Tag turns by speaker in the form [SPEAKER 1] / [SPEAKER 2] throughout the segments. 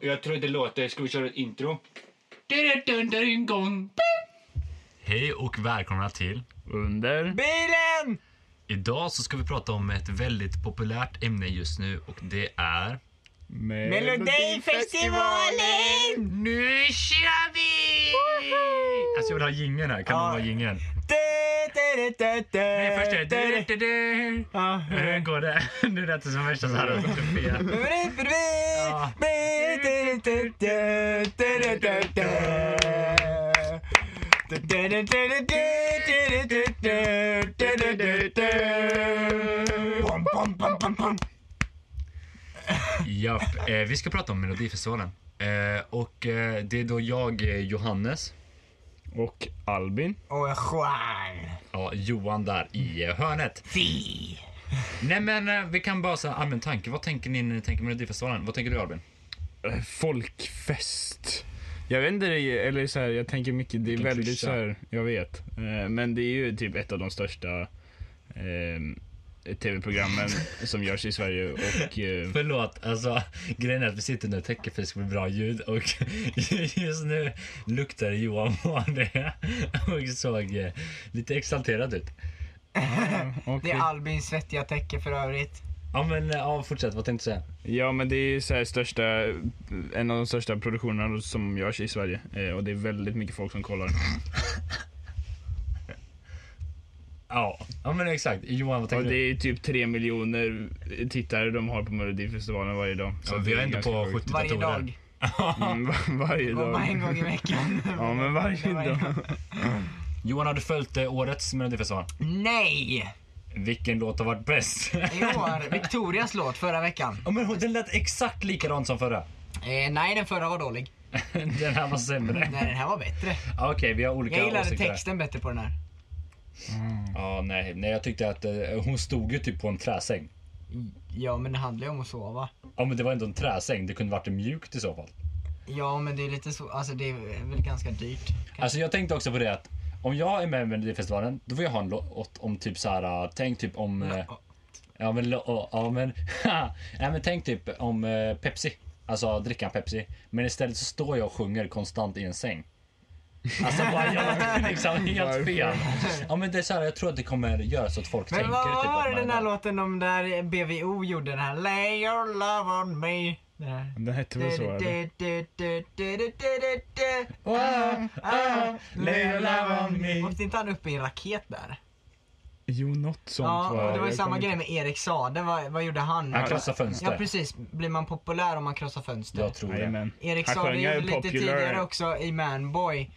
[SPEAKER 1] Jag tror det låter... Ska vi köra ett intro? Dun-dun-dun-gong.
[SPEAKER 2] Hej och välkomna till.
[SPEAKER 3] Under.
[SPEAKER 4] Bilen!
[SPEAKER 2] Idag så ska vi prata om ett väldigt populärt ämne just nu och det är...
[SPEAKER 4] Melodifestivalen!
[SPEAKER 2] Nu kör vi! Alltså jag vill ha jingeln här, kan
[SPEAKER 4] Ja.
[SPEAKER 2] någon ha jingeln? Nej,
[SPEAKER 4] Nej,
[SPEAKER 2] först är det... du, du, du.
[SPEAKER 4] Ah,
[SPEAKER 2] Hur går det? Nu lät det som värsta så här trumpen. Ja. Japp, eh, vi ska prata om Melodifestivalen. Eh, och eh, det är då jag, eh, Johannes,
[SPEAKER 3] Och Albin.
[SPEAKER 4] Och en stjärn.
[SPEAKER 2] ja Johan där i eh, hörnet.
[SPEAKER 4] Fy.
[SPEAKER 2] Nej men eh, vi kan bara säga allmän tanke. Vad tänker ni när ni tänker Melodifestivalen? Vad tänker du Albin?
[SPEAKER 3] Eh, Folkfest. Jag vet inte, det är- eller så här, jag tänker mycket, det är
[SPEAKER 2] Vilken
[SPEAKER 3] väldigt
[SPEAKER 2] klyscha.
[SPEAKER 3] så här, jag vet. Eh, Men det är ju typ ett av de största ehm, tv-programmen som görs i Sverige och eh,
[SPEAKER 2] Förlåt, alltså grejen är att vi sitter nu och täcker för det ska bli bra ljud och just nu luktar Johan på det och såg eh, lite exalterad ut.
[SPEAKER 3] och,
[SPEAKER 4] Det är Albins svettiga täcke för övrigt.
[SPEAKER 2] Ja men eh, ja, fortsätt, vad tänkte du säga?
[SPEAKER 3] Ja men det är så här största, en av de största produktionerna som görs i Sverige Eh, och det är väldigt mycket folk som kollar.
[SPEAKER 2] Ja, ja men exakt. Johan vad
[SPEAKER 3] Och
[SPEAKER 2] tänkte
[SPEAKER 3] det
[SPEAKER 2] du?
[SPEAKER 3] är typ tre miljoner eh, tittare de har på Melodifestivalen varje dag.
[SPEAKER 2] Ja,
[SPEAKER 3] det
[SPEAKER 2] vi har
[SPEAKER 3] är
[SPEAKER 2] ändå
[SPEAKER 3] ganska
[SPEAKER 2] på
[SPEAKER 3] sjukt.
[SPEAKER 2] 70
[SPEAKER 4] Varje
[SPEAKER 2] datorer.
[SPEAKER 4] dag.
[SPEAKER 3] Mm, var- varje
[SPEAKER 4] Och bara en
[SPEAKER 3] dag.
[SPEAKER 4] gång i veckan.
[SPEAKER 3] Ja men varje dag.
[SPEAKER 2] Johan har du följt eh, årets Melodifestival?
[SPEAKER 4] Nej!
[SPEAKER 2] Vilken låt har varit bäst?
[SPEAKER 4] I år, Victorias låt förra veckan.
[SPEAKER 2] ja men den lät exakt likadant som förra.
[SPEAKER 4] Eh, nej, den förra var dålig.
[SPEAKER 2] Den här var sämre.
[SPEAKER 4] Nej, den här var bättre.
[SPEAKER 2] Ja, Okej, vi har olika
[SPEAKER 4] Jag gillade
[SPEAKER 2] åsikter här.
[SPEAKER 4] texten bättre på den här.
[SPEAKER 2] Ja, nej, nej, jag tyckte att eh, hon stod ju typ på en träsäng.
[SPEAKER 4] Ja, men det handlar ju om att sova.
[SPEAKER 2] Ja men det var ändå en träsäng, det kunde varit mjukt i så fall.
[SPEAKER 4] Ja, men det är lite så, alltså det är väl ganska dyrt.
[SPEAKER 2] Alltså jag tänkte också på det att om jag är med i Melodifestivalen då får jag ha en låt om typ så här. äh, tänk typ om... eh, Ja men, lo- å- ja, men, nej, men tänk typ om eh, Pepsi. Alltså dricka en Pepsi. Men istället så står jag och sjunger konstant i en säng. Alltså bara jag, liksom helt fel. Ja men det är så här, jag tror att det kommer göra så att folk
[SPEAKER 4] Men
[SPEAKER 2] tänker
[SPEAKER 4] vad
[SPEAKER 2] typ
[SPEAKER 4] var det
[SPEAKER 2] att
[SPEAKER 4] den
[SPEAKER 2] man
[SPEAKER 4] här
[SPEAKER 2] är där.
[SPEAKER 4] låten om där BVO gjorde den här Lay your love on me. Den här.
[SPEAKER 3] Den hette väl så eller?
[SPEAKER 2] Wow, ah, lay your love on me.
[SPEAKER 4] Åkte inte han upp i en raket där?
[SPEAKER 3] Jo något sånt
[SPEAKER 4] Ja,
[SPEAKER 3] var
[SPEAKER 4] och det var ju
[SPEAKER 3] Jag
[SPEAKER 4] samma
[SPEAKER 3] kommer
[SPEAKER 4] grej med Erik Saade. Vad, vad gjorde han?
[SPEAKER 2] Han krossar
[SPEAKER 4] Ja,
[SPEAKER 2] fönster.
[SPEAKER 4] precis. Blir man populär om man krossar fönster?
[SPEAKER 2] Jag tror
[SPEAKER 3] inte-
[SPEAKER 2] det.
[SPEAKER 3] Jajamän.
[SPEAKER 4] Erik
[SPEAKER 3] Han
[SPEAKER 4] Saade
[SPEAKER 3] sjöng ju
[SPEAKER 4] gjorde lite
[SPEAKER 3] Popular.
[SPEAKER 4] tidigare också i Manboy.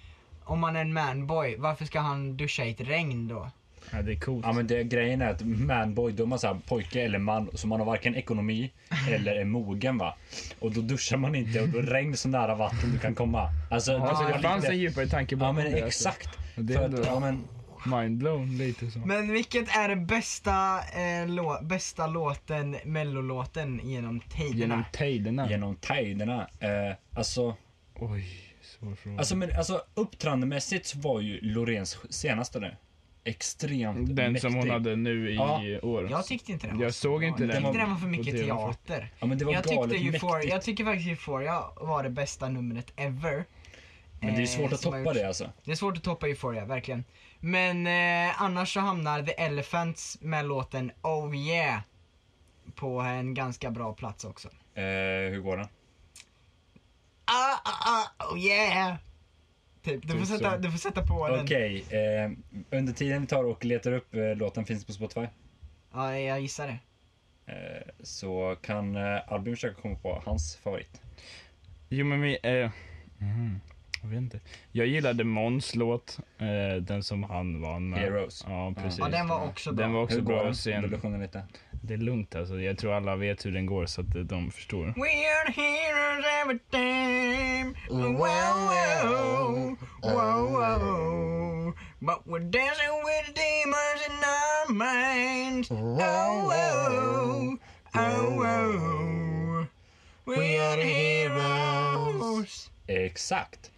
[SPEAKER 4] Om man är en manboy, varför ska han duscha i ett regn då?
[SPEAKER 3] Ja det är coolt.
[SPEAKER 2] Ja men det, grejen är att manboy, då är man så här, pojke eller man, så man har varken ekonomi eller är mogen va. Och då duschar man inte och då är regn så nära vatten du kan komma. Alltså, det
[SPEAKER 3] alltså,
[SPEAKER 2] var
[SPEAKER 3] det fanns
[SPEAKER 2] lite-
[SPEAKER 3] en djupare tanke
[SPEAKER 2] Ja
[SPEAKER 3] bakom
[SPEAKER 2] men
[SPEAKER 3] det. alltså.
[SPEAKER 2] exakt.
[SPEAKER 3] Det är
[SPEAKER 2] För att,
[SPEAKER 3] ändå-
[SPEAKER 2] ja, men,
[SPEAKER 3] Mindblown lite så.
[SPEAKER 4] Men vilket är bästa, eh, lå- bästa låten, mellolåten genom tiderna?
[SPEAKER 3] Genom tiderna.
[SPEAKER 2] genom tajderna. Eh, alltså,
[SPEAKER 3] Oj, svår fråga.
[SPEAKER 2] alltså, men, alltså uppträdandemässigt så var ju Lorens senaste nu extremt
[SPEAKER 3] den
[SPEAKER 2] mäktig.
[SPEAKER 3] som hon hade nu i
[SPEAKER 2] Ja.
[SPEAKER 3] år.
[SPEAKER 4] Jag tyckte inte den var
[SPEAKER 3] Jag
[SPEAKER 4] så
[SPEAKER 3] såg
[SPEAKER 4] bra.
[SPEAKER 3] inte
[SPEAKER 4] Jag
[SPEAKER 3] den
[SPEAKER 4] tyckte den var för
[SPEAKER 3] på
[SPEAKER 4] mycket
[SPEAKER 3] TV.
[SPEAKER 4] teater.
[SPEAKER 2] Ja men det var
[SPEAKER 4] Jag tyckte,
[SPEAKER 2] galet
[SPEAKER 4] Euphoria,
[SPEAKER 2] mäktigt.
[SPEAKER 4] jag tycker faktiskt Euphoria var det bästa numret ever.
[SPEAKER 2] Men det är ju svårt
[SPEAKER 4] eh,
[SPEAKER 2] att
[SPEAKER 4] som har
[SPEAKER 2] toppa
[SPEAKER 4] gjorts.
[SPEAKER 2] det alltså.
[SPEAKER 4] Det är svårt att toppa Euphoria, verkligen. Men eh, annars så hamnar The Elephants med låten Oh Yeah på en ganska bra plats också.
[SPEAKER 2] Eh, hur går den?
[SPEAKER 4] Ah, ah, ah, oh yeah! Typ, du,
[SPEAKER 3] Typ
[SPEAKER 4] får sätta,
[SPEAKER 3] så.
[SPEAKER 4] du får sätta på den.
[SPEAKER 2] Okej, eh, under tiden vi tar och letar upp eh, låten finns på Spotify.
[SPEAKER 4] Ja, jag gissar det.
[SPEAKER 2] Eh, Så kan eh, Albin försöka komma på hans favorit.
[SPEAKER 3] Jo men vi, eh, mm, jag vet inte. Jag gillade Måns låt, eh, den som han vann med.
[SPEAKER 2] Heroes.
[SPEAKER 3] Ja precis.
[SPEAKER 4] Ja, den var också bra.
[SPEAKER 3] Den var också
[SPEAKER 2] Hur går
[SPEAKER 3] bra.
[SPEAKER 2] den?
[SPEAKER 3] Sen,
[SPEAKER 2] Vill du sjunga lite?
[SPEAKER 3] det är lugnt alltså, jag tror alla vet hur den går så att eh, de förstår.
[SPEAKER 4] We're heroes every time. Wow, wow, wow, wow. But we're dancing with demons in our minds. Oh, wow, oh, wow. We are heroes.
[SPEAKER 2] Exakt!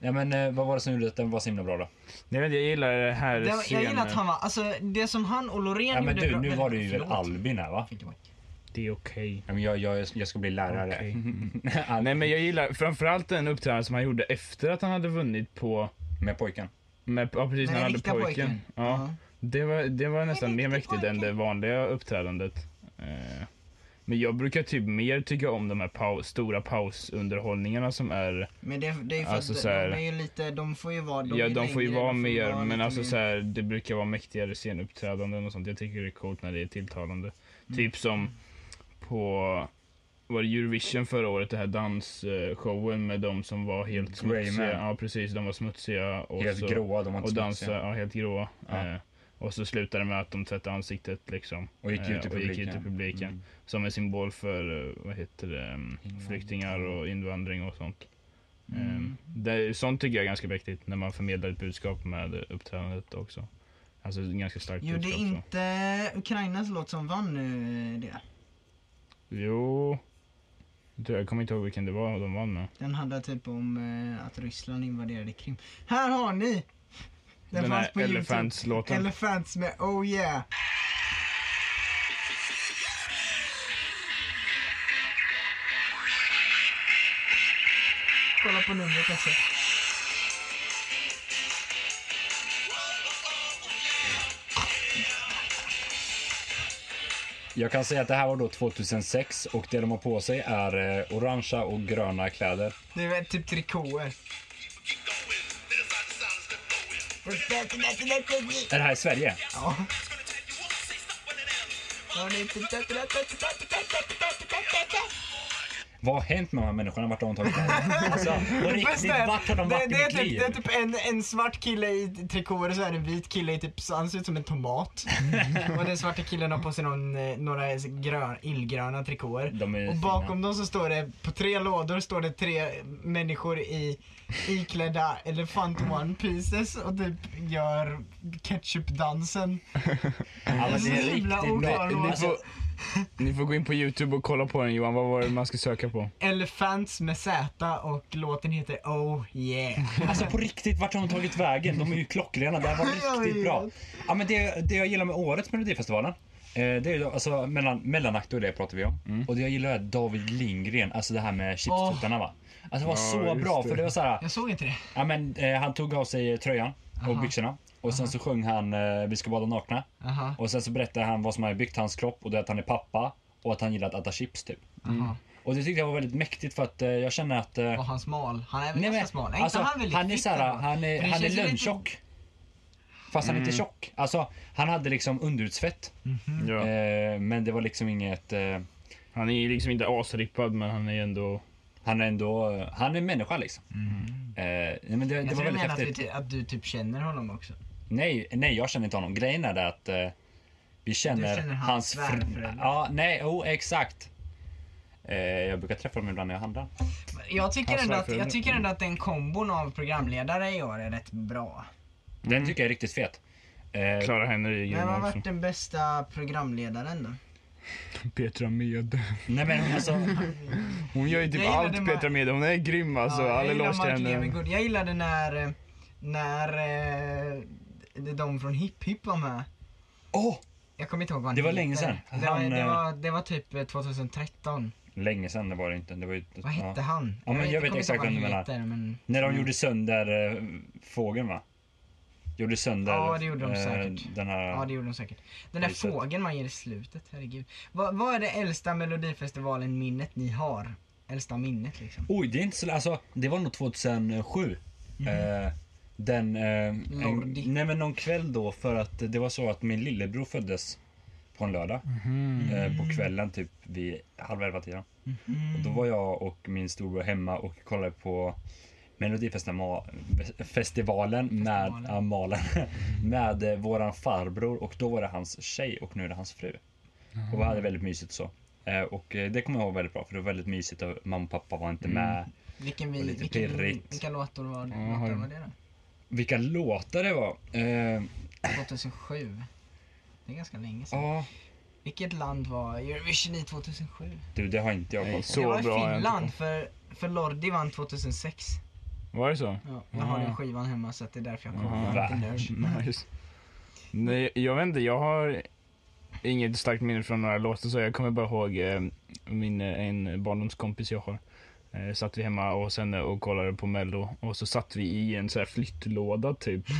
[SPEAKER 2] Ja, men, eh, vad var det som gjorde att den var så himla bra då?
[SPEAKER 3] Nej men jag gillar det här
[SPEAKER 4] Det var, jag
[SPEAKER 3] scenen.
[SPEAKER 4] gillar att han var, alltså det som han och Loreen
[SPEAKER 2] Ja, men
[SPEAKER 4] gjorde
[SPEAKER 2] du,
[SPEAKER 4] bra-
[SPEAKER 2] nu
[SPEAKER 4] men-
[SPEAKER 2] var det ju väl
[SPEAKER 4] förlåt.
[SPEAKER 2] Albin här va?
[SPEAKER 4] Fick du mic?
[SPEAKER 3] det är okej.
[SPEAKER 2] Ja, men jag, jag, jag ska bli lärare.
[SPEAKER 3] Okej.
[SPEAKER 2] Ja,
[SPEAKER 3] Nej men jag gillar framförallt den uppträdande som han gjorde efter att han hade vunnit på,
[SPEAKER 2] Med pojken.
[SPEAKER 3] med, ja precis
[SPEAKER 4] Den
[SPEAKER 3] när han hade
[SPEAKER 4] riktiga
[SPEAKER 3] pojken.
[SPEAKER 4] pojken.
[SPEAKER 3] Ja.
[SPEAKER 4] Ja.
[SPEAKER 3] Det var, det var nästan mer
[SPEAKER 5] riktig
[SPEAKER 3] mäktigt än det
[SPEAKER 5] pojke.
[SPEAKER 3] vanliga uppträdandet. Eh, Men jag brukar typ mer tycka om de här pau- stora pausunderhållningarna som är...
[SPEAKER 4] Men det, det är ju för
[SPEAKER 3] Alltså
[SPEAKER 4] att
[SPEAKER 3] så här-
[SPEAKER 4] de är ju lite, de får ju vara,
[SPEAKER 3] ja,
[SPEAKER 4] är
[SPEAKER 3] de får ju
[SPEAKER 4] längre,
[SPEAKER 3] vara
[SPEAKER 4] de får ju
[SPEAKER 3] mer,
[SPEAKER 4] vara
[SPEAKER 3] men
[SPEAKER 4] lite
[SPEAKER 3] alltså
[SPEAKER 4] mer-
[SPEAKER 3] så här, det brukar vara mäktigare scenuppträdanden och sånt. Jag tycker det är coolt när det är tilltalande.
[SPEAKER 4] Mm.
[SPEAKER 3] Typ som på var det Eurovision förra året, den här dansshowen med de som var helt
[SPEAKER 2] Grey
[SPEAKER 3] smutsiga.
[SPEAKER 2] Man.
[SPEAKER 3] Ja precis, de var smutsiga. Och
[SPEAKER 2] Helt
[SPEAKER 3] så,
[SPEAKER 2] gråa, de var
[SPEAKER 3] Och
[SPEAKER 2] inte
[SPEAKER 3] dansa,
[SPEAKER 2] smutsiga.
[SPEAKER 3] ja, helt gråa.
[SPEAKER 2] Ja.
[SPEAKER 3] Eh, och så slutade det med att de tvättade ansiktet liksom.
[SPEAKER 2] Och gick
[SPEAKER 3] Eh,
[SPEAKER 2] ut i
[SPEAKER 3] och gick ut i
[SPEAKER 2] publiken.
[SPEAKER 3] publiken. Mm. Som en symbol för, eh, vad heter det, ehm, flyktingar och invandring och sånt. Ehm, Det, sånt tycker jag är ganska viktigt, när man förmedlar ett budskap med uppträdandet också. Alltså ett ganska starkt
[SPEAKER 4] Gjorde
[SPEAKER 3] budskap. så.
[SPEAKER 4] inte Ukrainas låt som vann eh, det?
[SPEAKER 3] Jo, jag tror- jag kommer inte ihåg vilken det var de vann med.
[SPEAKER 4] Den handlar typ om eh, att Ryssland invaderade Krim. Här har ni! Den,
[SPEAKER 3] Den
[SPEAKER 4] fanns
[SPEAKER 3] här
[SPEAKER 4] på Youtube.
[SPEAKER 3] elefantslåten.
[SPEAKER 4] Elephants med Oh Yeah. Kolla på numret också.
[SPEAKER 2] Jag kan säga att det här var då 2006 och det de har på sig är eh, orangea och gröna kläder.
[SPEAKER 4] Det är väl typ trikåer.
[SPEAKER 2] Är det här i Sverige?
[SPEAKER 4] Ja.
[SPEAKER 2] Vad har hänt med de här människorna? Vart har de tagit vägen? Alltså, på riktigt, vart har de
[SPEAKER 4] det,
[SPEAKER 2] varit
[SPEAKER 4] det, är
[SPEAKER 2] i mitt
[SPEAKER 4] typ,
[SPEAKER 2] liv?
[SPEAKER 4] det är typ en, en svart kille i trikåer och så är det en vit kille i typ, så han ser ut som en tomat. och den svarta killen har på sig någon, eh, några grön, illgröna trikåer.
[SPEAKER 2] De är
[SPEAKER 4] Och
[SPEAKER 2] fina.
[SPEAKER 4] bakom dem så står det, på tre lådor står det tre människor i iklädda elefant one pieces och typ gör ketchupdansen.
[SPEAKER 2] Alltså, det är
[SPEAKER 4] Så himla
[SPEAKER 2] riktigt bra.
[SPEAKER 4] oklar låt.
[SPEAKER 3] Ni
[SPEAKER 2] Alltså,
[SPEAKER 3] får, ni får gå in på Youtube och kolla på den Johan, vad var det man ska söka på?
[SPEAKER 4] Elefants med Z och låten heter Oh Yeah.
[SPEAKER 2] Alltså på riktigt, vart har de tagit vägen? De är ju klockrena. Det här var
[SPEAKER 4] Jag
[SPEAKER 2] riktigt
[SPEAKER 4] vet.
[SPEAKER 2] bra. Ja, men det, det jag gillar med årets Melodifestivalen, eh, det är ju då- alltså mellan, mellanakt och det pratar vi om.
[SPEAKER 3] Mm.
[SPEAKER 2] Och det jag gillar är David Lindgren, alltså det här med chipstuttarna va. Alltså det var så
[SPEAKER 3] just
[SPEAKER 2] bra,
[SPEAKER 3] det.
[SPEAKER 2] för det var så här,
[SPEAKER 4] Jag såg inte det.
[SPEAKER 2] ja, men, eh, han tog av sig tröjan och
[SPEAKER 4] Aha.
[SPEAKER 2] byxorna. Och sen så sjöng han eh, Vi ska bada nakna.
[SPEAKER 4] Aha.
[SPEAKER 2] Och sen så berättade han vad som hade byggt hans kropp och det är att han är pappa och att han gillar att äta chips typ.
[SPEAKER 4] Aha.
[SPEAKER 2] Och det tyckte jag var väldigt mäktigt för att eh, jag känner att... Eh,
[SPEAKER 4] Var han smal? Han är väl
[SPEAKER 2] Nej, men,
[SPEAKER 4] ganska smal? Nej,
[SPEAKER 2] alltså,
[SPEAKER 4] inte han, väl lite
[SPEAKER 2] han är
[SPEAKER 4] fitt
[SPEAKER 2] såhär,
[SPEAKER 4] ändå?
[SPEAKER 2] han är,
[SPEAKER 4] Men
[SPEAKER 2] han
[SPEAKER 4] det
[SPEAKER 2] är
[SPEAKER 4] känns ju lite- Mm.
[SPEAKER 2] lönntjock. Fast han är inte tjock. Alltså, han hade liksom underutsvett.
[SPEAKER 3] Ja.
[SPEAKER 2] Eh, men det var liksom inget... Eh,
[SPEAKER 3] Han är ju liksom inte asrippad men han är ju ändå...
[SPEAKER 2] han är ändå... eh, Han är en människa liksom. Eh, nej, men det, det
[SPEAKER 4] Mm. Alltså, Jag
[SPEAKER 2] var
[SPEAKER 4] tror du
[SPEAKER 2] väldigt
[SPEAKER 4] menar att,
[SPEAKER 2] häftigt.
[SPEAKER 4] vi ty- att du typ känner honom också.
[SPEAKER 2] Nej, nej, jag känner inte honom. Grejen är det att eh, vi känner,
[SPEAKER 4] känner
[SPEAKER 2] hans
[SPEAKER 4] hans
[SPEAKER 2] fru.
[SPEAKER 4] svärföräldrar.
[SPEAKER 2] Ja, nej, oh, exakt. Eh, jag brukar träffa dem ibland när jag handlar.
[SPEAKER 4] Jag tycker,
[SPEAKER 3] Han
[SPEAKER 4] ändå
[SPEAKER 3] svär
[SPEAKER 4] att,
[SPEAKER 3] för
[SPEAKER 4] jag
[SPEAKER 3] henne.
[SPEAKER 4] tycker ändå att den kombon av programledare i år är rätt bra. Mm.
[SPEAKER 2] Den tycker jag är riktigt fet. Eh,
[SPEAKER 3] Clara Henry är
[SPEAKER 4] Vem har
[SPEAKER 3] grym också.
[SPEAKER 4] varit den bästa programledaren då?
[SPEAKER 3] Petra Mede.
[SPEAKER 2] nej men alltså,
[SPEAKER 3] Hon gör ju typ
[SPEAKER 4] Jag gillade
[SPEAKER 3] allt
[SPEAKER 4] Ma-
[SPEAKER 3] Petra Mede, hon är grym alltså.
[SPEAKER 4] Ja,
[SPEAKER 3] All
[SPEAKER 4] jag,
[SPEAKER 3] eloge
[SPEAKER 4] gillar
[SPEAKER 3] till
[SPEAKER 4] Mark
[SPEAKER 2] eh,
[SPEAKER 3] henne.
[SPEAKER 4] Levengood. jag gillade när, eh, när eh, det- de från Hip Hip var med.
[SPEAKER 2] åh!
[SPEAKER 4] Jag kommer inte ihåg vad han
[SPEAKER 2] Det var
[SPEAKER 4] heter.
[SPEAKER 2] länge sedan.
[SPEAKER 4] Det var,
[SPEAKER 2] Han,
[SPEAKER 4] det,
[SPEAKER 2] eh,
[SPEAKER 4] var, det var typ eh, 2013.
[SPEAKER 2] Länge sedan det var det inte. Det var ju,
[SPEAKER 4] Vad
[SPEAKER 2] ja.
[SPEAKER 4] hette han?
[SPEAKER 2] men jag vet
[SPEAKER 4] kommer
[SPEAKER 2] exakt
[SPEAKER 4] ihåg
[SPEAKER 2] vem
[SPEAKER 4] han
[SPEAKER 2] du menar.
[SPEAKER 4] heter, men...
[SPEAKER 2] När de gjorde sönder eh, fågeln va? Gjorde sönder eh,
[SPEAKER 4] Ja, det gjorde de säkert.
[SPEAKER 2] den här...
[SPEAKER 4] Ja det gjorde de säkert. Den där
[SPEAKER 2] Priset.
[SPEAKER 4] fågeln man ger i slutet, herregud. Vad, vad är det äldsta melodifestivalen-minnet ni har? Äldsta minnet liksom.
[SPEAKER 2] Oj, det är inte så alltså, Det var nog 2007.
[SPEAKER 4] Mm.
[SPEAKER 2] Eh, den... Eh, en,
[SPEAKER 4] Lordi.
[SPEAKER 2] nej men någon kväll då för att det var så att min lillebror föddes på en lördag.
[SPEAKER 3] Mhm.
[SPEAKER 4] Mm.
[SPEAKER 2] Eh, på kvällen typ vid halv elva tiden.
[SPEAKER 4] Mm.
[SPEAKER 2] Och då var jag och min storbror hemma och kollade på Melodifestivalen med,
[SPEAKER 4] Festivalen.
[SPEAKER 2] ja, Malen, med eh, våran farbror och då var det hans tjej och nu är det hans fru. Och vi hade väldigt mysigt så. Eh, Och eh, det kommer jag ihåg väldigt bra för det var väldigt mysigt och mamma och pappa var inte med.
[SPEAKER 4] Vilken
[SPEAKER 2] Och
[SPEAKER 4] vi,
[SPEAKER 2] lite
[SPEAKER 4] vilken,
[SPEAKER 2] pirrigt.
[SPEAKER 4] vilka låtar var,
[SPEAKER 3] Jaha.
[SPEAKER 4] låtar var det då?
[SPEAKER 2] Vilka låtar det var! Eh,
[SPEAKER 4] 2007. Det är ganska länge sedan.
[SPEAKER 2] Ja,
[SPEAKER 4] Vilket land var Eurovision i 2007?
[SPEAKER 2] du det har inte jag koll
[SPEAKER 3] Nej,
[SPEAKER 2] på.
[SPEAKER 4] det
[SPEAKER 3] så
[SPEAKER 4] var i
[SPEAKER 3] bra.
[SPEAKER 4] Finland för, för Lordi vann 2006.
[SPEAKER 3] Var det så?
[SPEAKER 4] Ja, jag har
[SPEAKER 3] Jaha.
[SPEAKER 4] den skivan hemma så att det är därför jag
[SPEAKER 3] Jaha.
[SPEAKER 4] kommer på
[SPEAKER 2] Va?
[SPEAKER 4] det.
[SPEAKER 3] Nice. Nej, jag vet inte, jag har... inget starkt minne från några låtar så jag kommer bara ihåg eh, min, eh, en barndomskompis jag har. Eh, satt vi hemma och sen eh, och kollade på mello och så satt vi i en så här flyttlåda typ.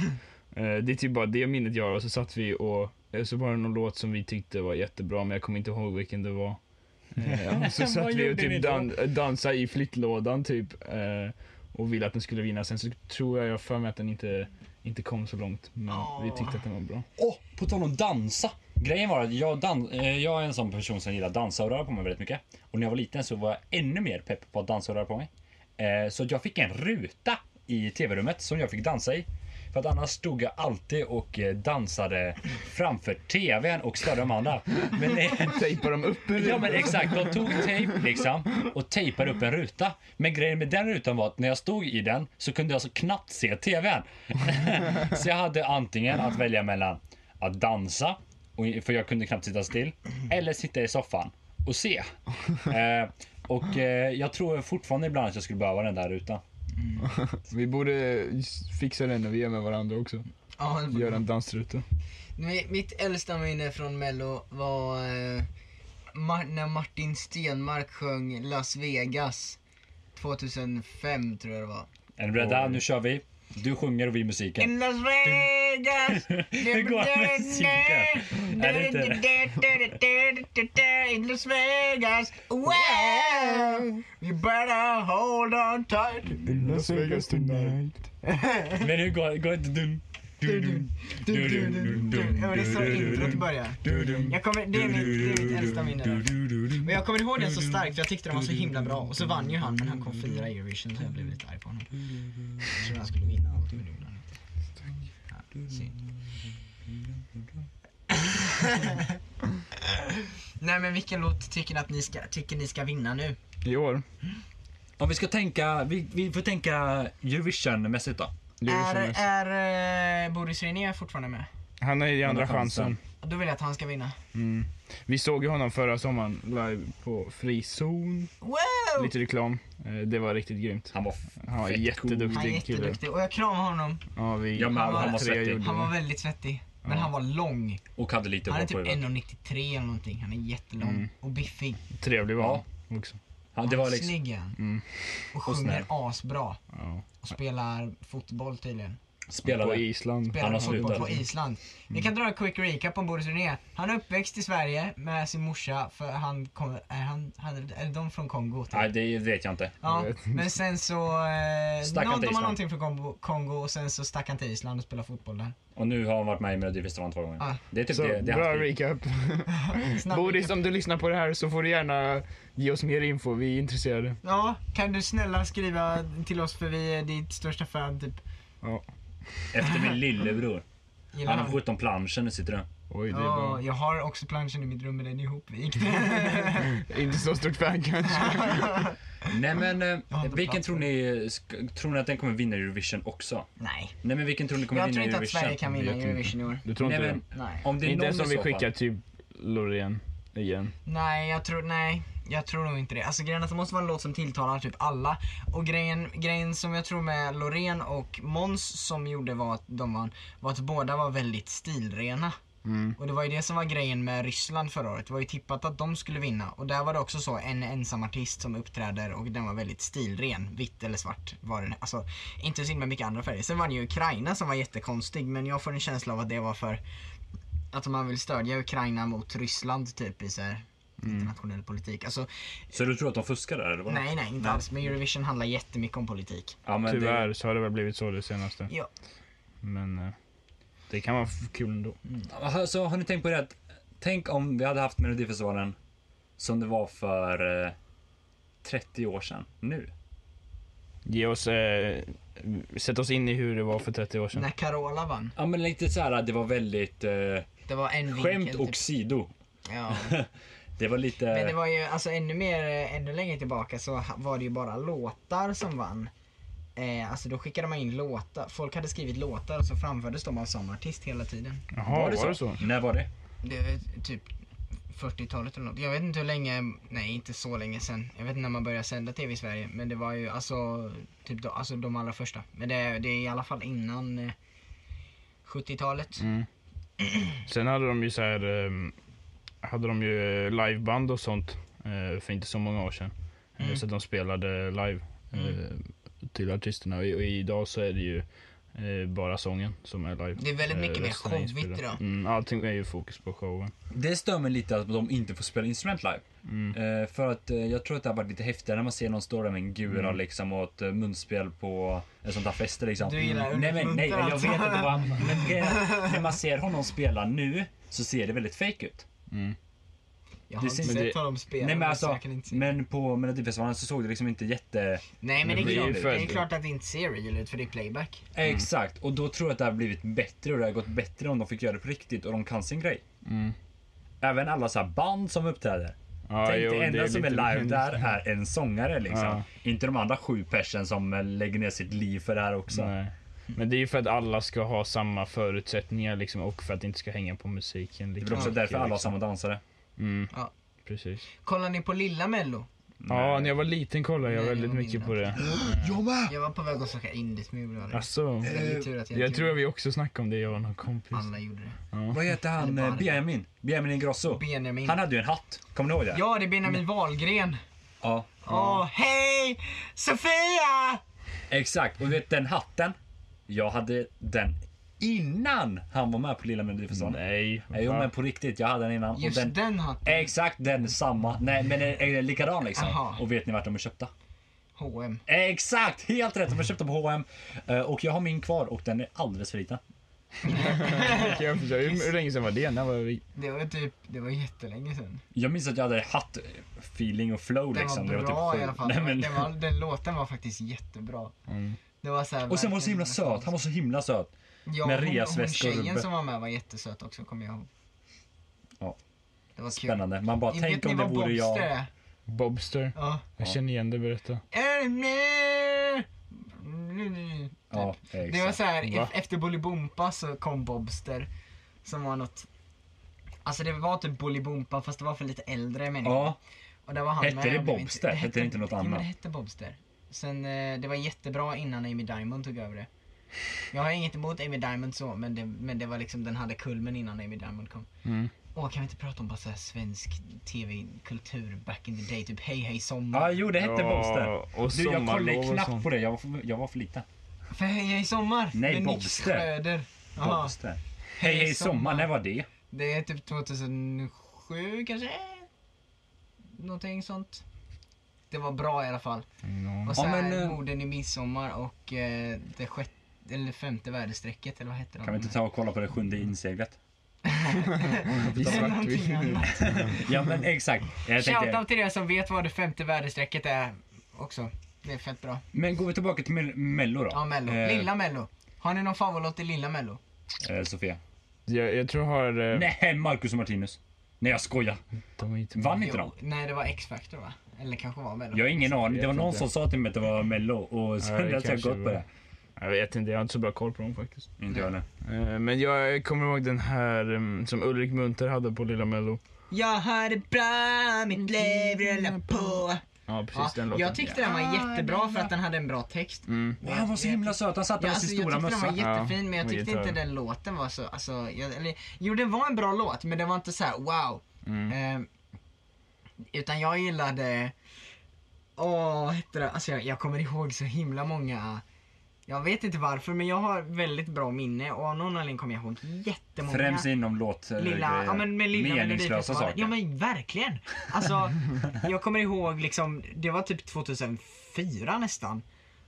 [SPEAKER 3] eh, det är typ bara det minnet jag har och så satt vi och eh, så var det någon låt som vi tyckte var jättebra men jag kommer inte ihåg vilken det var. Eh, och så
[SPEAKER 2] Vad
[SPEAKER 3] satt vi
[SPEAKER 2] gjorde
[SPEAKER 3] och
[SPEAKER 2] ni
[SPEAKER 3] typ
[SPEAKER 2] då?
[SPEAKER 3] dan- dansade i flyttlådan typ eh, och ville att den skulle vinna. Sen så tror jag jag har för mig att den inte, inte kom så långt men vi tyckte att den var bra.
[SPEAKER 2] Åh, på tal om dansa. Grejen var att jag, dan- eh, jag är en sån person som gillar att dansa och röra på mig väldigt mycket. Och när jag var liten så var jag ännu mer pepp på att dansa och röra på mig. Eh, så att jag fick en ruta i tv-rummet som jag fick dansa i. För att annars stod jag alltid och eh, dansade framför tvn och störde de andra. Men, eh,
[SPEAKER 3] Tejpar de upp eller?
[SPEAKER 2] Ja men exakt, de tog tejp liksom och tejpade upp en ruta. Men grejen med den rutan var att när jag stod i den så kunde jag så knappt se TVn. så jag hade antingen att välja mellan att dansa, och, för jag kunde knappt sitta still, eller sitta i soffan och se. Eh, och eh, jag tror fortfarande ibland att jag skulle behöva den där rutan.
[SPEAKER 3] Vi borde fixa den när vi är med varandra också.
[SPEAKER 4] Ja, det-
[SPEAKER 3] Göra en dansruta.
[SPEAKER 4] Mi- Mitt äldsta minne från mello var eh, Mar- när Martin Stenmark sjöng Las Vegas 2005 tror jag det var.
[SPEAKER 2] Är ni beredda?
[SPEAKER 3] Oj.
[SPEAKER 2] Nu kör vi. Du sjunger och vi musiken.
[SPEAKER 4] In Las Vegas!
[SPEAKER 2] Hur går det med musiken? Är det
[SPEAKER 4] In Las Vegas! Wow! You better hold on tight!
[SPEAKER 3] Las Vegas tonight.
[SPEAKER 2] Men hur går, går det? Dun, dun, dun, dun, dun, dun, dun,
[SPEAKER 4] Ja, men det är så introt börjar.
[SPEAKER 2] dun, dun.
[SPEAKER 4] Jag kommer, det är mitt, det är mitt äldsta minne. då. Men jag kommer ihåg den så starkt för jag tyckte den var så himla bra. Och så vann ju han men han kom fyra i Eurovision så jag blev lite arg på honom. Jag trodde han skulle vinna allt men det gjorde han inte. Ja, synd. Nej men vilken låt tycker ni, att ni, ska, tycker ni ska vinna nu?
[SPEAKER 3] I år?
[SPEAKER 2] Om vi ska tänka, vi, vi får tänka Eurovision-mässigt då.
[SPEAKER 4] Är,
[SPEAKER 3] Eurovision nästa.
[SPEAKER 4] är eh, Boris René fortfarande med?
[SPEAKER 3] Han är i andra
[SPEAKER 2] Andra chansen.
[SPEAKER 3] chansen.
[SPEAKER 4] Då vill jag att han ska vinna.
[SPEAKER 3] Mm. Vi såg ju honom förra sommaren live på Frizon.
[SPEAKER 4] Wow!
[SPEAKER 3] Lite reklam. Eh, Det var riktigt grymt.
[SPEAKER 2] Han var f-
[SPEAKER 3] Han var
[SPEAKER 2] fett
[SPEAKER 3] jätteduktig.
[SPEAKER 4] Han är
[SPEAKER 3] Duktig kille.
[SPEAKER 4] jätteduktig och jag kramar honom.
[SPEAKER 3] Ja, vi,
[SPEAKER 2] Ja, men
[SPEAKER 4] han var-
[SPEAKER 3] alla
[SPEAKER 4] han var
[SPEAKER 3] tre
[SPEAKER 2] svettig.
[SPEAKER 3] gjorde
[SPEAKER 4] Han var
[SPEAKER 3] det.
[SPEAKER 4] väldigt svettig. Men
[SPEAKER 3] Ja.
[SPEAKER 4] han var lång.
[SPEAKER 2] och hade lite
[SPEAKER 4] Han
[SPEAKER 2] hår
[SPEAKER 4] är
[SPEAKER 2] på
[SPEAKER 4] typ
[SPEAKER 2] huvudet.
[SPEAKER 4] 1,93 eller någonting. Han är jättelång
[SPEAKER 3] Mm.
[SPEAKER 4] och biffig.
[SPEAKER 3] Trevlig var
[SPEAKER 2] Ja.
[SPEAKER 3] han också.
[SPEAKER 2] Han, det var liksom,
[SPEAKER 4] Snygg är han.
[SPEAKER 3] Mm.
[SPEAKER 4] Och
[SPEAKER 2] Och
[SPEAKER 4] sjunger
[SPEAKER 2] snäll.
[SPEAKER 4] asbra.
[SPEAKER 3] Ja.
[SPEAKER 4] Och spelar fotboll tydligen.
[SPEAKER 3] På
[SPEAKER 2] spelade.
[SPEAKER 3] Island.
[SPEAKER 4] Spelar
[SPEAKER 2] Han har
[SPEAKER 4] fotboll
[SPEAKER 2] slutat.
[SPEAKER 4] på Island. Vi kan dra en quick recap om Boris René. Han är uppväxt i Sverige med sin morsa för han kom, är, han, han, är de från Kongo? typ?
[SPEAKER 2] Nej, det vet jag inte.
[SPEAKER 4] Ja,
[SPEAKER 3] Jag vet inte.
[SPEAKER 4] men sen så... Eh,
[SPEAKER 2] Stack han
[SPEAKER 4] någon,
[SPEAKER 2] till
[SPEAKER 4] de har
[SPEAKER 2] Island?
[SPEAKER 4] någonting från Kongo, Kongo och sen så stack han till Island och spelade fotboll där.
[SPEAKER 2] Och nu har han varit med i Melodifestivalen två gånger.
[SPEAKER 4] Ah.
[SPEAKER 2] Det är typ
[SPEAKER 3] Så,
[SPEAKER 2] det, det är
[SPEAKER 3] bra
[SPEAKER 2] hans liv.
[SPEAKER 3] recap.
[SPEAKER 4] Snabb
[SPEAKER 3] Boris,
[SPEAKER 4] recap.
[SPEAKER 3] om du lyssnar på det här så får du gärna ge oss mer info. Vi är intresserade.
[SPEAKER 4] Ja, kan du snälla skriva till oss för vi är ditt största fan typ.
[SPEAKER 3] Ja.
[SPEAKER 2] Efter min lillebror.
[SPEAKER 4] Gillar
[SPEAKER 2] Han har
[SPEAKER 4] han?
[SPEAKER 2] 17 planscher nu sitter den.
[SPEAKER 3] Oj, det är
[SPEAKER 4] Ja,
[SPEAKER 3] bra.
[SPEAKER 4] jag har också planschen i mitt rum men den är ihopvikt.
[SPEAKER 3] Inte så stort fan kanske.
[SPEAKER 2] Nej men,
[SPEAKER 4] har
[SPEAKER 2] eh,
[SPEAKER 4] inte
[SPEAKER 2] vilken
[SPEAKER 4] plats
[SPEAKER 2] tror
[SPEAKER 4] för
[SPEAKER 2] ni, sk- tror ni att den kommer vinna Eurovision också?
[SPEAKER 4] Nej.
[SPEAKER 2] Nej men vilken tror ni kommer
[SPEAKER 4] Jag
[SPEAKER 2] vinna
[SPEAKER 4] tror inte att
[SPEAKER 2] Eurovision?
[SPEAKER 4] Sverige kan vinna
[SPEAKER 3] Vet inte.
[SPEAKER 4] Eurovision i år.
[SPEAKER 3] Du tror
[SPEAKER 2] Nej
[SPEAKER 3] inte
[SPEAKER 2] men,
[SPEAKER 4] Nej.
[SPEAKER 2] om det
[SPEAKER 3] det?
[SPEAKER 2] är
[SPEAKER 3] Inte
[SPEAKER 2] någon
[SPEAKER 3] ens om
[SPEAKER 2] i
[SPEAKER 3] vi
[SPEAKER 2] så fall.
[SPEAKER 3] skickar typ Loreen igen.
[SPEAKER 4] Nej, jag tror, nej. Jag tror nog inte det. Alltså grejen är att det måste vara en låt som tilltalar typ alla. Och grejen, grejen som jag tror med Loreen och Mons som gjorde var att de vann, var att båda var väldigt stilrena. Och det var ju det som var grejen med Ryssland förra året. Det var ju tippat att de skulle vinna. Och där var det också så en ensam artist som uppträder och den var väldigt stilren. Vitt eller svart var den. Alltså inte så himla mycket andra färger. Sen var det ju Ukraina som var jättekonstig men jag får en känsla av att det var för att man vill stödja Ukraina mot Ryssland typ i så här internationell politik. Alltså
[SPEAKER 2] Så du tror att de fuskar där eller? vad?
[SPEAKER 4] nej nej inte alls. Men Eurovision handlar jättemycket om politik.
[SPEAKER 2] Ja, men det-
[SPEAKER 3] Tyvärr så har det väl blivit så det senaste.
[SPEAKER 4] Ja.
[SPEAKER 3] Men eh, det kan vara f- kul ändå.
[SPEAKER 2] Alltså, har ni tänkt på det? att- Tänk om vi hade haft Melodifestivalen som det var för eh, 30 år sedan nu.
[SPEAKER 3] Ge oss, eh, sätt oss in i hur det var för 30 år sedan.
[SPEAKER 4] När Carola vann.
[SPEAKER 2] Ja, men lite så här, det var väldigt eh,
[SPEAKER 4] Det var en vinkel.
[SPEAKER 2] skämt och
[SPEAKER 4] Typ.
[SPEAKER 2] sido.
[SPEAKER 4] Ja.
[SPEAKER 2] Det var lite...
[SPEAKER 4] Men det var ju alltså ännu mer, eh, ännu längre tillbaka så ha- var det ju bara låtar som vann. Eh, alltså då skickade man in låtar, folk hade skrivit låtar och så framfördes de av samma artist hela tiden.
[SPEAKER 3] Jaha, var det, så?
[SPEAKER 2] När var det?
[SPEAKER 4] Det är typ 40-talet eller något. Jag vet inte hur länge, nej inte så länge sen. Jag vet inte när man började sända TV i Sverige men det var ju alltså, typ då, alltså de allra första. Men det, det är i alla fall innan eh, 70-talet.
[SPEAKER 2] Mm.
[SPEAKER 3] Mm. Sen hade de ju så här eh, hade de ju eh, liveband och sånt eh, för inte så många år sedan. Eh,
[SPEAKER 4] Mm.
[SPEAKER 3] Så att de spelade live eh, till artisterna. Och, i- och idag så är det ju eh, bara sången som är live. Eh,
[SPEAKER 4] Det är väldigt mycket mer
[SPEAKER 3] resten är
[SPEAKER 4] showigt
[SPEAKER 3] inspelat.
[SPEAKER 4] idag.
[SPEAKER 3] Mm, allting är ju fokus på showen.
[SPEAKER 2] Det stör mig lite att de inte får spela instrument live. Eh, för att eh, jag tror att det har varit lite häftigare när man ser någon stå där med en gura liksom och ett eh, munspel på en sån där fest liksom.
[SPEAKER 4] Du gillar
[SPEAKER 2] nej, men, nej, jag
[SPEAKER 4] uppmuntran.
[SPEAKER 2] vet att det var... Men grejen är att när man ser honom spela nu så ser det väldigt fake ut.
[SPEAKER 4] Jag har
[SPEAKER 2] Det
[SPEAKER 4] inte
[SPEAKER 2] syns-
[SPEAKER 3] men
[SPEAKER 4] sett
[SPEAKER 3] det-
[SPEAKER 4] honom spela.
[SPEAKER 2] nej men
[SPEAKER 4] så
[SPEAKER 2] alltså,
[SPEAKER 4] jag kan inte se.
[SPEAKER 2] men på Melodifestivalen så såg det liksom inte jätte...
[SPEAKER 4] Nej men
[SPEAKER 3] men
[SPEAKER 4] det är,
[SPEAKER 3] det är
[SPEAKER 4] klart,
[SPEAKER 3] ju för-
[SPEAKER 4] det är klart att det inte ser real ut för det är playback.
[SPEAKER 2] Exakt, och då tror jag att det har blivit bättre och det har gått bättre om de fick göra det på riktigt och de kan sin grej. Även alla så här band som uppträder.
[SPEAKER 3] Ja,
[SPEAKER 2] Tänk
[SPEAKER 3] jo,
[SPEAKER 2] det enda som är
[SPEAKER 3] lite-
[SPEAKER 2] live där är en sångare liksom.
[SPEAKER 3] Ja.
[SPEAKER 2] Inte de andra sju personer som eh, lägger ner sitt liv för det här också.
[SPEAKER 3] Nej. Men det är ju för att alla ska ha samma förutsättningar liksom, och för att det inte ska hänga på musiken.
[SPEAKER 2] Det är
[SPEAKER 3] lika
[SPEAKER 2] väl också
[SPEAKER 3] mycket,
[SPEAKER 2] därför alla har
[SPEAKER 3] liksom.
[SPEAKER 2] samma dansare.
[SPEAKER 3] Mm.
[SPEAKER 4] Ja.
[SPEAKER 3] Precis.
[SPEAKER 4] Kollar ni på lilla mello?
[SPEAKER 3] Ja, när jag var liten kollade jag
[SPEAKER 4] Nej,
[SPEAKER 3] väldigt
[SPEAKER 4] jag
[SPEAKER 3] mycket
[SPEAKER 4] minns
[SPEAKER 3] på det.
[SPEAKER 2] Jag med!
[SPEAKER 4] Jag var på väg att söka indiesmul och det.
[SPEAKER 3] Alltså,
[SPEAKER 4] Väldigt tur att jag,
[SPEAKER 3] jag
[SPEAKER 4] inte
[SPEAKER 3] tror
[SPEAKER 4] gjorde
[SPEAKER 3] vi också snackade om det, jag och någon kompis.
[SPEAKER 4] det. Alla gjorde det.
[SPEAKER 2] Vad heter han?
[SPEAKER 4] Eller bara-
[SPEAKER 2] eh, Benjamin? Benjamin Ingrosso?
[SPEAKER 4] Benjamin.
[SPEAKER 2] Han hade ju en hatt. Kommer ni ihåg det?
[SPEAKER 4] Ja, det är Benjamin Wahlgren.
[SPEAKER 2] Ja.
[SPEAKER 4] Åh, hej! Sofia!
[SPEAKER 2] Exakt, och du vet den hatten. Jag hade den innan han var med på Lilla Melodifestivalen.
[SPEAKER 3] Nej.
[SPEAKER 2] Nej, Eh, Jo
[SPEAKER 3] fan.
[SPEAKER 2] men på riktigt, jag hade den innan.
[SPEAKER 4] Just
[SPEAKER 2] och den,
[SPEAKER 4] den, hatten.
[SPEAKER 2] Exakt den samma. Nej men är är det likadan liksom.
[SPEAKER 4] Aha.
[SPEAKER 2] Och vet ni vart de är köpta?
[SPEAKER 4] H&M.
[SPEAKER 2] Exakt! Helt rätt, de är köpta på H&M Eh, Och jag har min kvar och den är alldeles för liten.
[SPEAKER 3] Kan jag förstå. Hur, hur länge sedan var det? När var vi?
[SPEAKER 4] Det var typ, det var jättelänge sedan.
[SPEAKER 2] Jag minns att jag hade hatt-feeling och flow
[SPEAKER 4] Den
[SPEAKER 2] liksom.
[SPEAKER 4] var
[SPEAKER 2] Det
[SPEAKER 4] bra
[SPEAKER 2] typ sjukt.
[SPEAKER 4] i alla fall.
[SPEAKER 2] Nej, men... Mm.
[SPEAKER 4] den, var, den låten var faktiskt jättebra. Det var så här,
[SPEAKER 2] Och sen var han så
[SPEAKER 4] verkligen-
[SPEAKER 2] himla söt, han var så himla söt.
[SPEAKER 4] ja,
[SPEAKER 2] med
[SPEAKER 4] hon-
[SPEAKER 2] resväskor och
[SPEAKER 4] Hon tjejen
[SPEAKER 2] rubbe.
[SPEAKER 4] som var med var jättesöt också, kommer jag ihåg.
[SPEAKER 2] Ja.
[SPEAKER 4] Det var kul.
[SPEAKER 2] Spännande. Man bara,
[SPEAKER 4] Vet
[SPEAKER 2] tänk
[SPEAKER 4] ni
[SPEAKER 2] om det
[SPEAKER 4] vad
[SPEAKER 2] vore
[SPEAKER 4] Bobster
[SPEAKER 2] jag.
[SPEAKER 4] är?
[SPEAKER 3] Bobster.
[SPEAKER 4] Ja.
[SPEAKER 3] Jag känner igen det, berätta.
[SPEAKER 4] Är du med? Mm,
[SPEAKER 2] Ja,
[SPEAKER 4] Det var
[SPEAKER 2] exakt.
[SPEAKER 4] så här,
[SPEAKER 3] Va?
[SPEAKER 4] e- efter Bolibompa så kom Bobster. Som var något... Alltså det var typ Bolibompa fast det var för lite äldre människor.
[SPEAKER 2] Ja,
[SPEAKER 4] Och där var han
[SPEAKER 2] Hette
[SPEAKER 4] med,
[SPEAKER 2] det
[SPEAKER 4] jag blev inte-
[SPEAKER 2] Bobster? Hette det inte något
[SPEAKER 4] Jo, men
[SPEAKER 2] annat?
[SPEAKER 4] det hette Bobster. Sen, eh, det var jättebra innan Amy Diamond tog över det. Jag har inget emot Amy Diamond så, men det, men det var liksom, den hade kulmen innan Amy Diamond kom.
[SPEAKER 3] Mm.
[SPEAKER 4] Åh, kan vi inte prata om bara så här svensk tv-kultur back in the day? Typ Hej Hej Sommar.
[SPEAKER 2] ja Ah, jo det hette
[SPEAKER 3] Ja,
[SPEAKER 2] Bobster.
[SPEAKER 3] och
[SPEAKER 2] Du jag kollade
[SPEAKER 3] sommarlov och
[SPEAKER 2] knappt
[SPEAKER 3] sånt.
[SPEAKER 2] på det, jag var för, jag var för liten.
[SPEAKER 4] För Hej Hej Sommar!
[SPEAKER 2] Nej,
[SPEAKER 4] med Nick
[SPEAKER 2] Bobster.
[SPEAKER 4] Schröder. Jaha.
[SPEAKER 2] Bobster. Hej hej sommar, när var det?
[SPEAKER 4] Det är typ 2007 kanske? Någonting sånt. Det var bra i alla fall.
[SPEAKER 3] Mm, Ja.
[SPEAKER 4] Och sen
[SPEAKER 2] men, eh,
[SPEAKER 4] morden i midsommar och eh, det sjätte, eller femte väderstrecket eller vad hette de?
[SPEAKER 2] Kan vi inte ta och kolla på det sjunde inseglet?
[SPEAKER 3] Vi
[SPEAKER 4] Det är
[SPEAKER 3] satt
[SPEAKER 4] någonting
[SPEAKER 3] vid-
[SPEAKER 4] annat.
[SPEAKER 2] Ja men exakt. Jag tänkte,
[SPEAKER 4] Shoutout till er som vet vad det femte väderstrecket är också. Det är fett bra.
[SPEAKER 2] men går vi tillbaka till Mel- Mello då?
[SPEAKER 4] Ja, Mello.
[SPEAKER 2] Eh,
[SPEAKER 4] Lilla Mello. Har ni någon favoritlåt i Lilla Mello?
[SPEAKER 2] Eh, Sofia.
[SPEAKER 3] Jag, jag tror jag har... eh,
[SPEAKER 2] Nej, Marcus och Martinus. Nej jag skojar.
[SPEAKER 3] De är inte
[SPEAKER 2] Vann inte de?
[SPEAKER 4] nej, det var X-Factor va? Eller kanske var Mello.
[SPEAKER 2] Jag har ingen aning. Det var
[SPEAKER 3] vet
[SPEAKER 2] någon
[SPEAKER 3] inte.
[SPEAKER 2] som sa till mig att det var Mello och
[SPEAKER 3] Ja,
[SPEAKER 2] sen
[SPEAKER 3] det
[SPEAKER 2] dess har jag
[SPEAKER 3] kanske
[SPEAKER 2] gått på
[SPEAKER 3] var.
[SPEAKER 2] det.
[SPEAKER 3] Jag vet inte, jag har inte så bra koll på dem faktiskt.
[SPEAKER 2] Inte jag nu.
[SPEAKER 3] Eh, Men jag kommer ihåg den här eh, som Ulrik Munter hade på Lilla Mello.
[SPEAKER 4] Jag har det bra, mitt liv rullar på.
[SPEAKER 3] Ja, precis
[SPEAKER 4] Ja,
[SPEAKER 3] den låten.
[SPEAKER 4] jag tyckte den var jättebra för att den hade en bra text.
[SPEAKER 3] Mm.
[SPEAKER 2] Och han var så himla söt. Han satt där
[SPEAKER 4] Ja,
[SPEAKER 2] med
[SPEAKER 4] alltså,
[SPEAKER 2] sin
[SPEAKER 4] jag
[SPEAKER 2] stora
[SPEAKER 4] tyckte
[SPEAKER 2] mössa.
[SPEAKER 4] den var jättefin men jag
[SPEAKER 3] och
[SPEAKER 4] tyckte
[SPEAKER 3] gitarr.
[SPEAKER 4] inte den låten var så, alltså, jag, eller, jo det var en bra låt men det var inte så här: wow. Eh, utan jag gillade, åh vad hette det, alltså jag, jag kommer ihåg så himla många, jag vet inte varför men jag har väldigt bra minne och av någon anledning kommer jag ihåg jättemånga
[SPEAKER 2] Främst inom låt... eh,
[SPEAKER 4] lilla, ja, men med lilla
[SPEAKER 2] meningslösa
[SPEAKER 4] Melodifestivalen.
[SPEAKER 2] saker.
[SPEAKER 4] Ja men verkligen. Alltså, jag kommer ihåg liksom, det var typ 2004 nästan.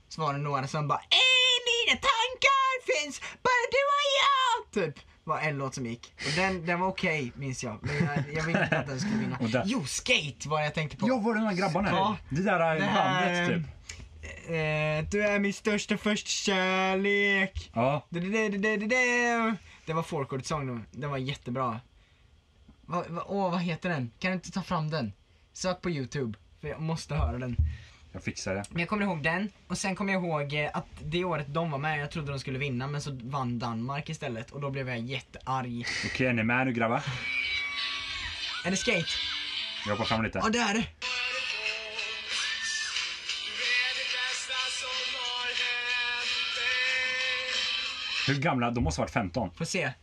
[SPEAKER 4] Så var det några som bara "Ey, mina tankar finns bara du och jag! Typ var en låt som gick. Och den, den var okej minns jag. Men jag, jag ville inte att den skulle vinna.
[SPEAKER 2] Och där-
[SPEAKER 4] Jo, Skate var det jag tänkte på.
[SPEAKER 2] Ja, var det de här grabbarna?
[SPEAKER 4] Ja.
[SPEAKER 2] Det där
[SPEAKER 4] Det
[SPEAKER 2] eh,
[SPEAKER 4] här,
[SPEAKER 2] bandet typ.
[SPEAKER 4] eh, du är min största första kärlek.
[SPEAKER 2] Ja.
[SPEAKER 4] Du, du, du, du, du, du, du. Det var folkkortssång då. Den var jättebra. Va, va, åh, vad heter den? Kan du inte ta fram den? Sök på Youtube, för jag måste höra den.
[SPEAKER 2] Jag fixar det.
[SPEAKER 4] Men jag kommer ihåg den, och sen kommer jag ihåg eh, att det året de var med, jag trodde de skulle vinna, men så vann Danmark istället. Och då blev jag jättearg.
[SPEAKER 2] Okej, är ni med nu grabbar?
[SPEAKER 4] Är det skate?
[SPEAKER 2] Jag hoppar fram lite.
[SPEAKER 4] Ja, det är det!
[SPEAKER 2] Hur gamla? De måste ha varit 15.
[SPEAKER 4] Får se.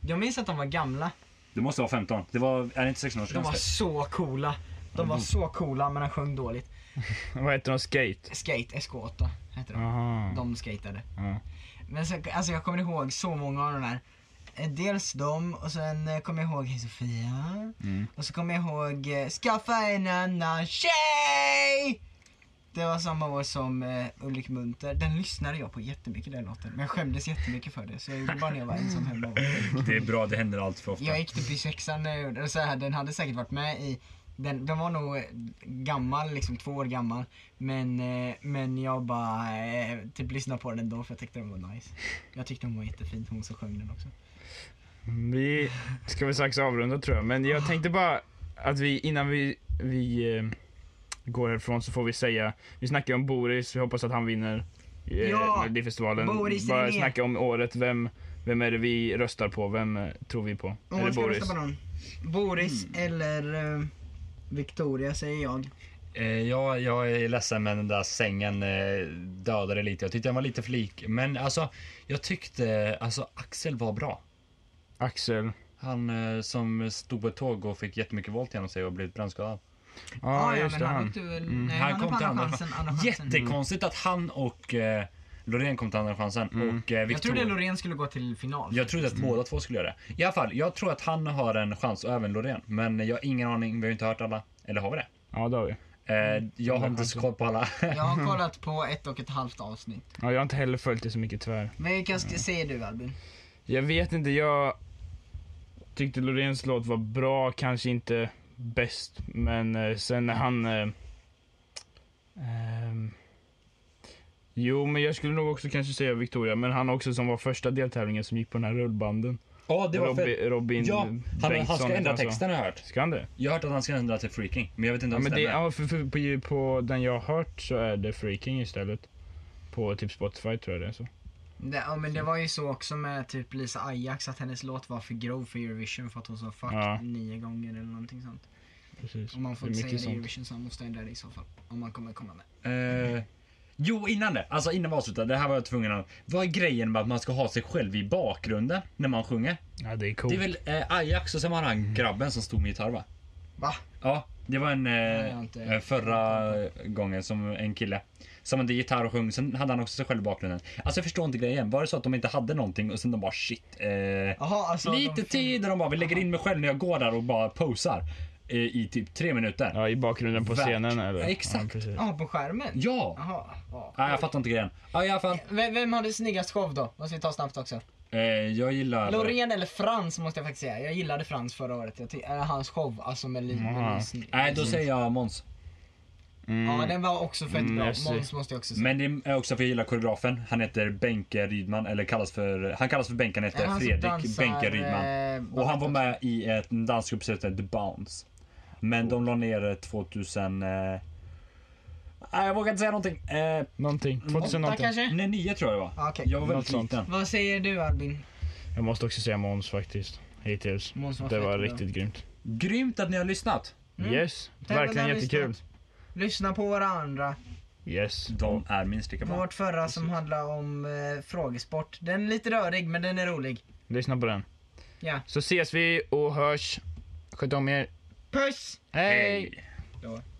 [SPEAKER 4] Jag minns att de var gamla.
[SPEAKER 2] Det måste vara 15. Det var, är det inte
[SPEAKER 4] De var
[SPEAKER 2] 16-årsgräns?
[SPEAKER 4] så coola. De var så coola men han sjöng dåligt.
[SPEAKER 3] Vad heter de? Skate?
[SPEAKER 4] Skate, SK8 hette de.
[SPEAKER 3] Aha.
[SPEAKER 4] De skatade.
[SPEAKER 3] Ja.
[SPEAKER 4] Men så, alltså jag kommer ihåg så många av de där. Eh, Dels dem och sen eh, kommer jag ihåg Hej Sofia. Och så kommer jag ihåg eh, Skaffa en annan tjej! Det var samma år som eh, Ulrik Munter. Den lyssnade jag på jättemycket den låten. Men jag skämdes jättemycket för det så jag gjorde bara när jag var ensam hemma.
[SPEAKER 2] Det är bra, det händer allt för ofta.
[SPEAKER 4] Jag gick typ i sexan när jag gjorde det. Så här, den hade säkert varit med i den, den var nog eh, gammal, liksom två år gammal. Men, eh, men jag bara eh, typ lyssnade på den då för jag tyckte den var nice. Jag tyckte hon var jättefin, hon som sjöng den också.
[SPEAKER 3] Vi ska väl strax avrunda tror jag, men
[SPEAKER 4] Ah.
[SPEAKER 3] jag tänkte bara att vi innan vi, vi eh, går härifrån så får vi säga, vi snackar ju om Boris, vi hoppas att han vinner eh,
[SPEAKER 4] Ja,
[SPEAKER 3] Melodifestivalen.
[SPEAKER 4] Boris är
[SPEAKER 3] bara
[SPEAKER 4] med.
[SPEAKER 3] snacka om året, vem, vem är det vi röstar på, vem eh, tror vi på? är
[SPEAKER 4] Om man
[SPEAKER 3] det
[SPEAKER 4] ska
[SPEAKER 3] Boris?
[SPEAKER 4] rösta på någon. Boris eller eh, Victoria säger jag.
[SPEAKER 2] Eh, jag, jag är ledsen men den där sängen eh, dödade lite. Jag tyckte den var lite för lik. Men alltså, jag tyckte alltså, Axel var bra.
[SPEAKER 3] Axel?
[SPEAKER 2] Han eh, som stod på ett tåg och fick jättemycket våld genom sig och blev brännskadad.
[SPEAKER 3] Ja, just det
[SPEAKER 4] Ah,
[SPEAKER 3] han. Mm.
[SPEAKER 4] men typ- fick du väl- nej, han kom till andra chansen. Andra chansen.
[SPEAKER 2] Jättekonstigt att han och eh, Loreen kom till andra chansen. Och, eh,
[SPEAKER 4] Jag trodde
[SPEAKER 2] Victoria-
[SPEAKER 4] Loreen skulle gå till final.
[SPEAKER 2] Jag trodde att båda två skulle göra det. I alla fall, jag tror att han har en chans och även Loreen. Men jag har ingen aning, vi har ju inte hört alla. Eller har vi det?
[SPEAKER 3] Ja, det har vi.
[SPEAKER 2] Eh, jag har inte så koll på alla.
[SPEAKER 4] Jag har kollat på ett och ett halvt avsnitt.
[SPEAKER 3] Ja, jag har inte heller följt det så mycket tyvärr.
[SPEAKER 4] Vilka
[SPEAKER 3] Mm.
[SPEAKER 4] ska, säger du Albin?
[SPEAKER 3] Jag vet inte, jag tyckte Loreens låt var bra, kanske inte bäst, men eh, sen när han... Eh, ehm, jo, men jag skulle nog också kanske säga Victoria, men han också som var första deltävlingen som gick på den här rullbanden.
[SPEAKER 2] Ja, det var
[SPEAKER 3] Robbi-
[SPEAKER 2] fel.
[SPEAKER 3] Robin
[SPEAKER 2] Ja, han, han
[SPEAKER 3] Bengtsson
[SPEAKER 2] ska ändra
[SPEAKER 3] heter så.
[SPEAKER 2] texten har jag hört.
[SPEAKER 3] Ska han det?
[SPEAKER 2] Jag har hört att han ska ändra till Freaking, men jag vet inte
[SPEAKER 3] Ja,
[SPEAKER 2] om
[SPEAKER 3] men
[SPEAKER 2] det
[SPEAKER 3] det
[SPEAKER 2] stämmer.
[SPEAKER 3] ja, för, för, på, på den jag har hört så är det Freaking istället. På typ Spotify tror jag det är så.
[SPEAKER 4] Det, ja men det var ju så också med typ Lisa Ajax att hennes låt var för grov för Eurovision för att hon sa fuck
[SPEAKER 3] Ja.
[SPEAKER 4] nio gånger eller någonting sånt.
[SPEAKER 3] Precis.
[SPEAKER 4] Om man får
[SPEAKER 3] Det är mycket
[SPEAKER 4] inte säga det i
[SPEAKER 3] sånt.
[SPEAKER 4] Eurovision så måste jag ändra det i så fall. Om man kommer komma med.
[SPEAKER 2] Eh, jo, innan det. Alltså innan vi avslutar. Det här var jag tvungen att... Vad är grejen med att man ska ha sig själv i bakgrunden när man sjunger?
[SPEAKER 3] Ja, det är coolt.
[SPEAKER 2] Det är väl eh, Ajax och sen var det
[SPEAKER 3] Mm.
[SPEAKER 2] han grabben som stod med gitarr va?
[SPEAKER 4] Va?
[SPEAKER 2] Ja, det var en
[SPEAKER 4] jag har
[SPEAKER 2] eh,
[SPEAKER 4] inte-
[SPEAKER 2] eh, förra gången som en kille som hade gitarr och sjöng, sen hade han också sig själv i bakgrunden. Alltså jag förstår inte grejen. Var det så att de inte hade någonting och sen de bara shit. Eh,
[SPEAKER 4] Jaha alltså.
[SPEAKER 2] lite
[SPEAKER 4] de-
[SPEAKER 2] tid och de bara vi lägger in mig själv när jag går där och bara posar eh, i typ tre minuter. Ja,
[SPEAKER 3] Ja, i bakgrunden på
[SPEAKER 2] Värt.
[SPEAKER 3] scenen eller?
[SPEAKER 2] Ja, exakt.
[SPEAKER 3] Ja, precis.
[SPEAKER 4] Ja på skärmen? Jaha. Ja.
[SPEAKER 2] Nej, jag fattar inte grejen. Ja, i alla fall.
[SPEAKER 4] Vem, vem hade snyggast show då? Måste vi ta snabbt också.
[SPEAKER 2] Eh, jag gillar...
[SPEAKER 4] Loreen eller Frans måste jag faktiskt säga. Jag gillade Frans förra året. Jag ty- äh, hans show, alltså med Liv.
[SPEAKER 3] Jaha.
[SPEAKER 2] Nej, då säger jag Måns.
[SPEAKER 3] Mm.
[SPEAKER 4] Ja den var också fett
[SPEAKER 3] Mm,
[SPEAKER 4] bra.
[SPEAKER 3] jag ser.
[SPEAKER 4] Måns måste jag också säga.
[SPEAKER 2] Men det är också för jag gillar koreografen. Han heter Benke Rydman, eller kallas för... Han kallas för Benke, han heter
[SPEAKER 4] Är det han som
[SPEAKER 2] Fredrik
[SPEAKER 4] dansar,
[SPEAKER 2] Benke Rydman.
[SPEAKER 4] eh,
[SPEAKER 2] Och han var med i ett dansgrupp som heter The Bounce. Men de la ner det 2000... Eh... Nej, jag vågar inte säga någonting. Eh,
[SPEAKER 3] Någonting. 2000
[SPEAKER 4] Åtta
[SPEAKER 3] någonting.
[SPEAKER 4] kanske?
[SPEAKER 2] nej, nio tror jag det var.
[SPEAKER 4] Ja, okej.
[SPEAKER 2] Jag var väldigt
[SPEAKER 3] Något sånt.
[SPEAKER 2] liten.
[SPEAKER 4] Vad säger du Albin?
[SPEAKER 3] Jag måste också säga Måns faktiskt. Hittills.
[SPEAKER 4] Måns var
[SPEAKER 3] det
[SPEAKER 4] fett
[SPEAKER 3] var
[SPEAKER 4] bra.
[SPEAKER 3] riktigt grymt.
[SPEAKER 2] Grymt att ni har lyssnat.
[SPEAKER 3] Yes.
[SPEAKER 4] Tävlan
[SPEAKER 3] Verkligen
[SPEAKER 4] har
[SPEAKER 3] jättekul.
[SPEAKER 4] lyssnat. Lyssna på varandra.
[SPEAKER 3] Yes.
[SPEAKER 2] De är minst lika bra.
[SPEAKER 4] Vårt förra som handlar om eh, frågesport. Den är lite rörig men den är rolig.
[SPEAKER 3] Lyssna på den.
[SPEAKER 4] Ja.
[SPEAKER 3] Så ses vi och hörs. Sköt om er.
[SPEAKER 4] Puss!
[SPEAKER 3] Hej.
[SPEAKER 4] Då.